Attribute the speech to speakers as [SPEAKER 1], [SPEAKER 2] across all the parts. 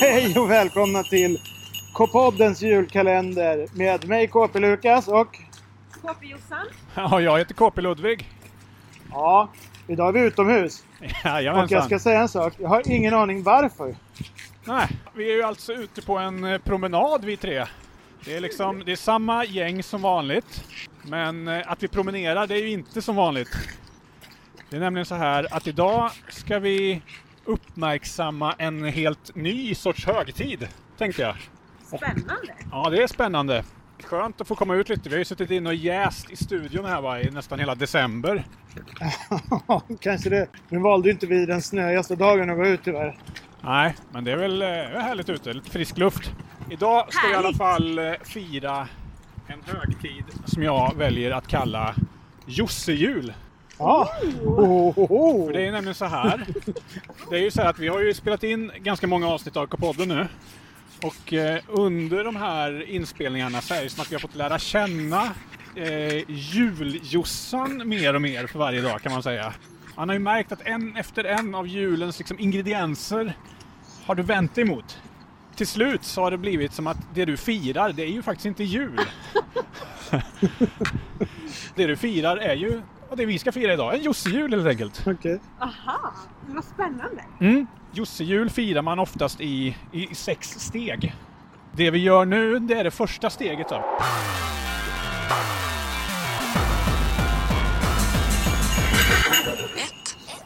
[SPEAKER 1] Hej och välkomna till K-poddens julkalender med mig KP Lukas och
[SPEAKER 2] KP Jossan.
[SPEAKER 3] Ja, jag heter KP Ludvig.
[SPEAKER 1] ja, idag är vi utomhus. Och jag
[SPEAKER 3] Jajamensan.
[SPEAKER 1] ska säga en sak, jag har ingen aning varför.
[SPEAKER 3] Nej, vi är ju alltså ute på en eh, promenad vi tre. Det är liksom, det är samma gäng som vanligt. Men eh, att vi promenerar, det är ju inte som vanligt. Det är nämligen så här att idag ska vi uppmärksamma en helt ny sorts högtid, tänkte jag.
[SPEAKER 2] Spännande.
[SPEAKER 3] Ja, det är spännande. Skönt att få komma ut lite. Vi har ju suttit inne och jäst i studion här va, i nästan hela december.
[SPEAKER 1] Kanske det. Nu valde ju inte vi den snöigaste dagen att gå ut tyvärr.
[SPEAKER 3] Nej, men det är väl eh, det är härligt ute. Lite frisk luft. Idag ska vi i alla
[SPEAKER 2] Härligt.
[SPEAKER 3] fall eh, fira en högtid som jag väljer att kalla Jossejul.
[SPEAKER 1] Ja. Oh, oh, oh.
[SPEAKER 3] För det är nämligen så här. Det är ju så här att vi har ju spelat in ganska många avsnitt av K-podden nu. Och eh, under de här inspelningarna så är det som att vi har fått lära känna eh, juljossan mer och mer för varje dag kan man säga. Han har ju märkt att en efter en av julens liksom, ingredienser har du vänt dig emot. Till slut så har det blivit som att det du firar, det är ju faktiskt inte jul. det du firar är ju, och det vi ska fira idag, en Jossejul helt enkelt.
[SPEAKER 1] Okej.
[SPEAKER 2] Aha, det var spännande.
[SPEAKER 3] Mm. Jossejul firar man oftast i, i i sex steg. Det vi gör nu, det är det första steget. Då.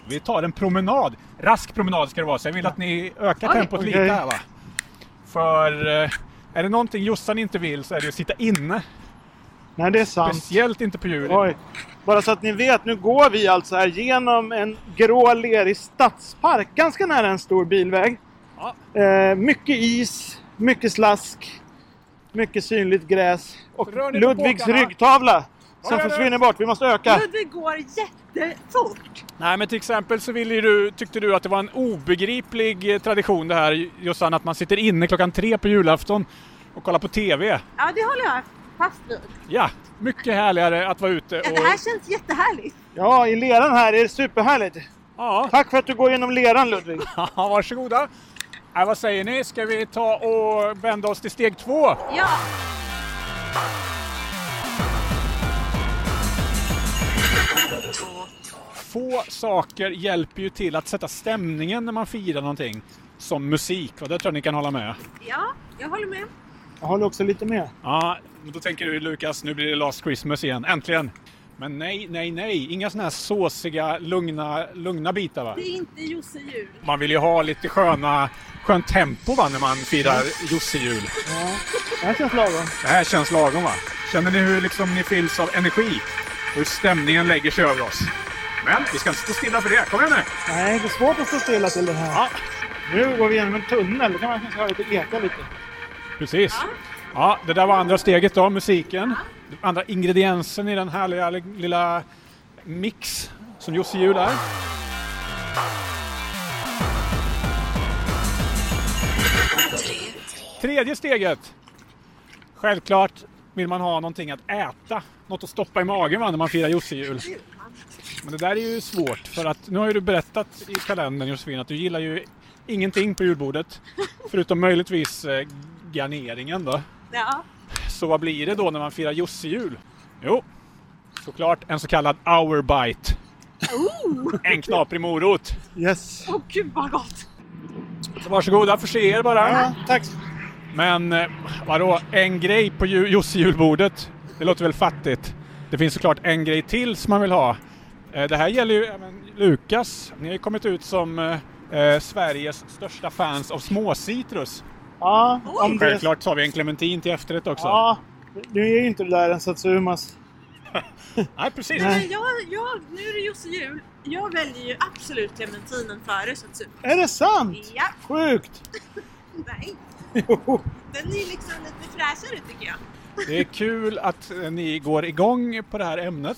[SPEAKER 3] Vi tar en promenad. Rask promenad ska det vara, så jag vill att ni ökar
[SPEAKER 2] Oj.
[SPEAKER 3] tempot lite
[SPEAKER 1] Okej.
[SPEAKER 3] här va. För eh, är det någonting Jossan inte vill så är det att sitta inne.
[SPEAKER 1] Nej, det är sant.
[SPEAKER 3] Speciellt inte på julen.
[SPEAKER 1] Oj. Bara så att ni vet, nu går vi alltså här genom en grå lerig stadspark ganska nära en stor bilväg.
[SPEAKER 3] Ja.
[SPEAKER 1] Eh, mycket is, mycket slask, mycket synligt gräs och
[SPEAKER 3] Rör ni på
[SPEAKER 1] Ludvigs
[SPEAKER 3] båtarna?
[SPEAKER 1] ryggtavla
[SPEAKER 3] Oj,
[SPEAKER 1] som
[SPEAKER 3] oj, oj.
[SPEAKER 1] försvinner bort. Vi måste öka.
[SPEAKER 2] Ludvig går jättefort.
[SPEAKER 3] Nej, men till exempel så ville ju du, tyckte du att det var en obegriplig eh, tradition det här Jossan, att man sitter inne klockan tre på julafton och kollar på TV.
[SPEAKER 2] Ja, det håller jag fast vid.
[SPEAKER 3] Ja, mycket härligare att vara ute
[SPEAKER 2] Ja, det här
[SPEAKER 3] och...
[SPEAKER 2] känns jättehärligt.
[SPEAKER 1] Ja, i leran här är det superhärligt.
[SPEAKER 3] Ja,
[SPEAKER 1] Tack för att du går genom leran Ludvig.
[SPEAKER 3] varsågoda. Nej, vad säger ni, ska vi ta och vända oss till steg två?
[SPEAKER 2] Ja,
[SPEAKER 3] Få saker hjälper ju till att sätta stämningen när man firar någonting. Som musik, och det tror jag ni kan hålla med.
[SPEAKER 2] ja, jag håller med.
[SPEAKER 1] Jag håller också lite med.
[SPEAKER 3] Ja, men då tänker du Lukas, nu blir det Last Christmas igen, äntligen! Men nej, nej, nej, inga såna här såsiga, lugna, lugna bitar va?
[SPEAKER 2] Det är inte Josse jul.
[SPEAKER 3] Man vill ju ha lite sköna, skönt tempo va, när man firar Jossejul.
[SPEAKER 1] Ja, det här känns lagom.
[SPEAKER 3] Det här känns lagom va? Känner ni hur liksom ni fylls av energi? Och hur stämningen lägger sig över oss? Men vi ska inte stå stilla för det, kom igen nu!
[SPEAKER 1] Nej, det är svårt att stå stilla till den här.
[SPEAKER 3] Ja,
[SPEAKER 1] Nu går vi genom en tunnel. Då kan man kanske höra lite eka lite.
[SPEAKER 3] precis. Ja, det där var andra steget då, musiken. Andra ingrediensen i den härliga lilla mix som Jossejul är. Tredje steget. Självklart vill man ha någonting att äta. Något att stoppa i magen va, när man firar Jossejul. Men det där är ju svårt för att nu har ju du berättat i kalendern Josefin att du gillar ju ingenting på julbordet. Förutom möjligtvis eh, garneringen då.
[SPEAKER 2] Ja,
[SPEAKER 3] Så vad blir det då när man firar Jossejul? Jo, såklart en så kallad hour bite. En knaprig morot.
[SPEAKER 1] Yes.
[SPEAKER 2] åh gud vad gott.
[SPEAKER 3] Så varsågoda, förse er bara.
[SPEAKER 1] Ja, tack.
[SPEAKER 3] Men eh, vadå, en grej på ju- Josse-julbordet? Det låter väl fattigt? Det finns såklart en grej till som man vill ha. Eh, Det här gäller ju även Lukas. Ni har ju kommit ut som eh, eh, Sveriges största fans av småcitrus.
[SPEAKER 1] Ja, om det...
[SPEAKER 3] Självklart så har vi en clementin till efterrätt också.
[SPEAKER 1] Ja, nu är ju inte det där en Satsumas.
[SPEAKER 3] Nej, precis.
[SPEAKER 2] Men jag, jag, nu är det Josse jul. Jag väljer ju absolut clementinen före så att super.
[SPEAKER 1] Är det sant?
[SPEAKER 2] Ja,
[SPEAKER 1] Sjukt!
[SPEAKER 2] nej.
[SPEAKER 1] Jo.
[SPEAKER 2] Den är liksom lite fräschare tycker jag.
[SPEAKER 3] Det är kul att eh, ni går igång på det här ämnet.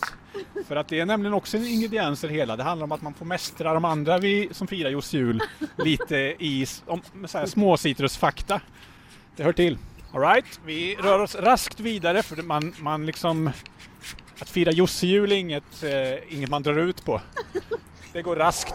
[SPEAKER 3] För att det är nämligen också en ingrediens i det hela. Det handlar om att man får mästra de andra vi, som firar just jul lite i s- om, med så här, små citrusfakta. Det hör till. All right, vi rör oss raskt vidare för det- man, man liksom... Att fira Jossejul är inget, eh, inget man drar ut på. Det går raskt.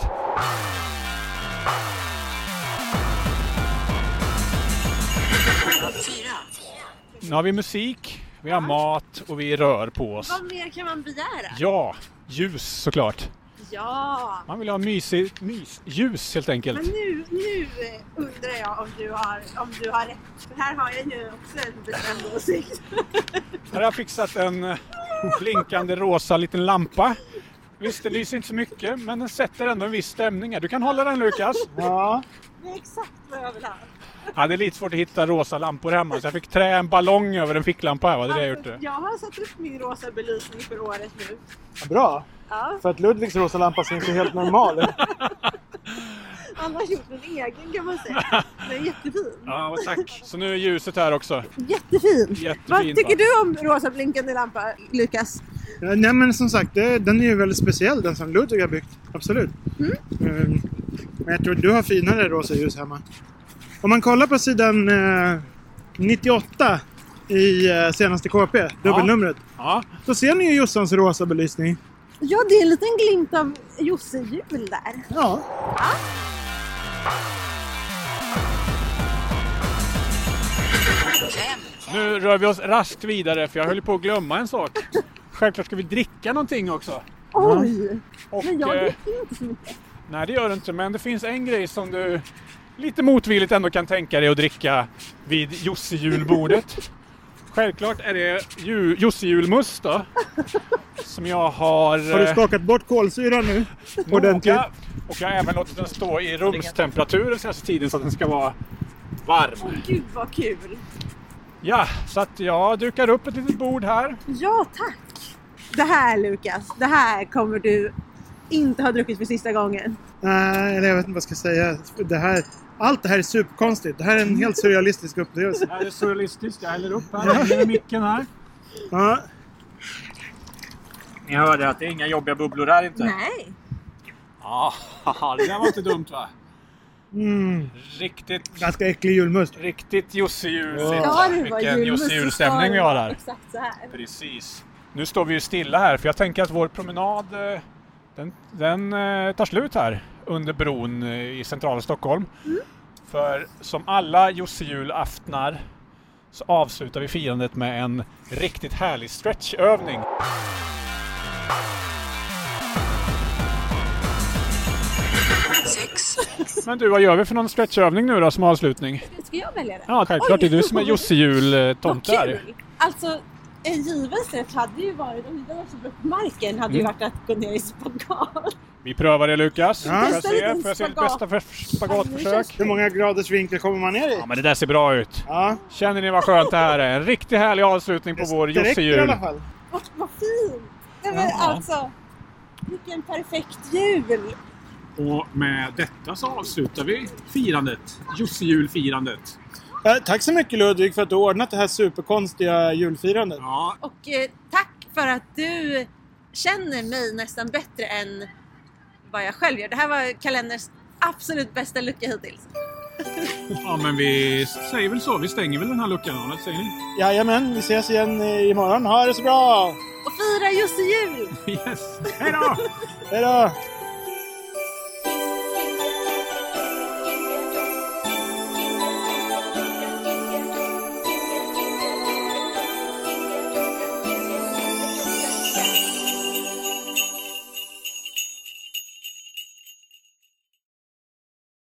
[SPEAKER 3] Nu har vi musik, vi har mat och vi rör på oss.
[SPEAKER 2] Vad mer kan man begära?
[SPEAKER 3] Ja, ljus såklart.
[SPEAKER 2] Ja!
[SPEAKER 3] Man vill ha mysigt mys, ljus helt
[SPEAKER 2] Men
[SPEAKER 3] enkelt.
[SPEAKER 2] nu, nu eh, undrar jag om du har, om du har rätt. För här har jag ju också en bestämd åsikt.
[SPEAKER 3] Här har jag fixat en eh, blinkande rosa liten lampa. Visst, det lyser inte så mycket, men den sätter ändå en viss stämning här. Du kan hålla den Lukas.
[SPEAKER 1] Ja.
[SPEAKER 2] Det är exakt vad jag vill ha.
[SPEAKER 3] Ja, det är lite svårt att hitta rosa lampor hemma, så jag fick trä en ballong över en ficklampa här. va? Det är det jag gjort.
[SPEAKER 2] Alltså, jag har satt upp min rosa belysning för året nu.
[SPEAKER 1] Bra.
[SPEAKER 2] Ja,
[SPEAKER 1] För att Ludvigs rosa lampa ser inte helt normal ut.
[SPEAKER 2] han har gjort en egen kan man säga. Den är jättefin.
[SPEAKER 3] Ja, tack. Så nu är ljuset här också.
[SPEAKER 2] Jättefin!
[SPEAKER 3] Jättefint,
[SPEAKER 2] Vad
[SPEAKER 3] va?
[SPEAKER 2] tycker du om rosa blinkande lampa, Lukas?
[SPEAKER 1] Ja, Nej men som sagt, det, den är ju väldigt speciell den som Ludvig har byggt. Absolut. Ehm, Men jag tror du har finare rosa ljus hemma. Om man kollar på sidan eh, 98 i eh, senaste KP, dubbelnumret.
[SPEAKER 3] Ja,
[SPEAKER 1] Då ser ni ju Jossans rosa belysning.
[SPEAKER 2] Ja, det är en liten glimt av Josse-jul där.
[SPEAKER 1] Ja.
[SPEAKER 3] nu rör vi oss raskt vidare, för jag höll på att glömma en sak. Självklart ska vi dricka någonting också.
[SPEAKER 2] Oj!
[SPEAKER 3] Och,
[SPEAKER 2] Men jag
[SPEAKER 3] eh,
[SPEAKER 2] dricker inte så mycket.
[SPEAKER 3] Nej, det gör du inte. Men det finns en grej som du lite motvilligt ändå kan tänka dig att dricka vid Jossejulbordet. Självklart är det ju- Jossejulmust då. Som jag har...
[SPEAKER 1] Har du
[SPEAKER 3] eh,
[SPEAKER 1] skakat bort kolsyran nu? Ordentligt?
[SPEAKER 3] noga. Och jag har även låtit den stå i rumstemperatur den senaste tiden så att den ska vara varm.
[SPEAKER 2] Åh, gud vad kul!
[SPEAKER 3] Ja, så att jag dukar upp ett litet bord här.
[SPEAKER 2] Ja, tack! Det här Lukas, det här kommer du inte ha druckit för sista gången.
[SPEAKER 1] Nej, eller jag vet inte vad jag ska säga. Det här, allt det här är superkonstigt. Det här är en helt surrealistisk upplevelse.
[SPEAKER 3] Det här är surrealistiskt. Jag häller upp här. i micken här.
[SPEAKER 1] Ja.
[SPEAKER 3] Ni hörde att det är inga jobbiga bubblor här inte.
[SPEAKER 2] Nej!
[SPEAKER 3] Ja, Ah, det där var inte dumt va?
[SPEAKER 1] Mm,
[SPEAKER 3] Riktigt
[SPEAKER 1] ganska äcklig julmust.
[SPEAKER 3] Riktigt Josse-jul.
[SPEAKER 1] Ja.
[SPEAKER 2] Ja, det var
[SPEAKER 3] Vilken
[SPEAKER 2] julmust.
[SPEAKER 3] Josse-julstämning vi har här.
[SPEAKER 2] Exakt så här.
[SPEAKER 3] Precis. Nu står vi ju stilla här för jag tänker att vår promenad eh, den, den eh, tar slut här under bron eh, i centrala Stockholm.
[SPEAKER 2] Mm.
[SPEAKER 3] För som alla Josse-julaftnar så avslutar vi firandet med en riktigt härlig stretchövning. Men du, vad gör vi för någon stretchövning nu då som avslutning?
[SPEAKER 2] Ska jag välja det?
[SPEAKER 3] Ja, självklart. Det är
[SPEAKER 2] Oj.
[SPEAKER 3] du som är eh, Josse-jul-tomte
[SPEAKER 2] Vad
[SPEAKER 3] här.
[SPEAKER 2] kul! Alltså, en given stretch hade ju varit, om det var så bra på marken, hade
[SPEAKER 3] Mm.
[SPEAKER 2] ju varit att gå ner i spagat.
[SPEAKER 3] Vi prövar det Lukas.
[SPEAKER 1] Ja.
[SPEAKER 3] Får jag
[SPEAKER 2] Testa
[SPEAKER 3] se,
[SPEAKER 2] lite
[SPEAKER 3] får jag se ditt
[SPEAKER 2] spagat.
[SPEAKER 3] bästa för spagatförsök?
[SPEAKER 1] Hur många graders vinkel kommer man ner i?
[SPEAKER 3] Ja men det där ser bra ut.
[SPEAKER 1] Ja,
[SPEAKER 3] Känner ni vad skönt det här är? En riktigt härlig avslutning på vår
[SPEAKER 1] det räcker i
[SPEAKER 3] Josse-jul.
[SPEAKER 1] alla fall.
[SPEAKER 2] Vad, vad fint! Nej men
[SPEAKER 3] Ja.
[SPEAKER 2] alltså, vilken perfekt jul!
[SPEAKER 3] Och med detta så avslutar vi firandet. Josse-julfirandet.
[SPEAKER 1] Ja, tack så mycket Ludvig för att du har ordnat det här superkonstiga julfirandet.
[SPEAKER 3] Ja,
[SPEAKER 2] Och eh, tack för att du känner mig nästan bättre än vad jag själv gör. Det här var kalenderns absolut bästa lucka hittills.
[SPEAKER 3] ja men vi säger väl så. Vi stänger väl den här luckan, eller säger ni?
[SPEAKER 1] Jajamän, vi ses igen eh, imorgon. Ha det så bra!
[SPEAKER 2] Och fira just jul!
[SPEAKER 3] Yes! Hej då!
[SPEAKER 1] Hej då!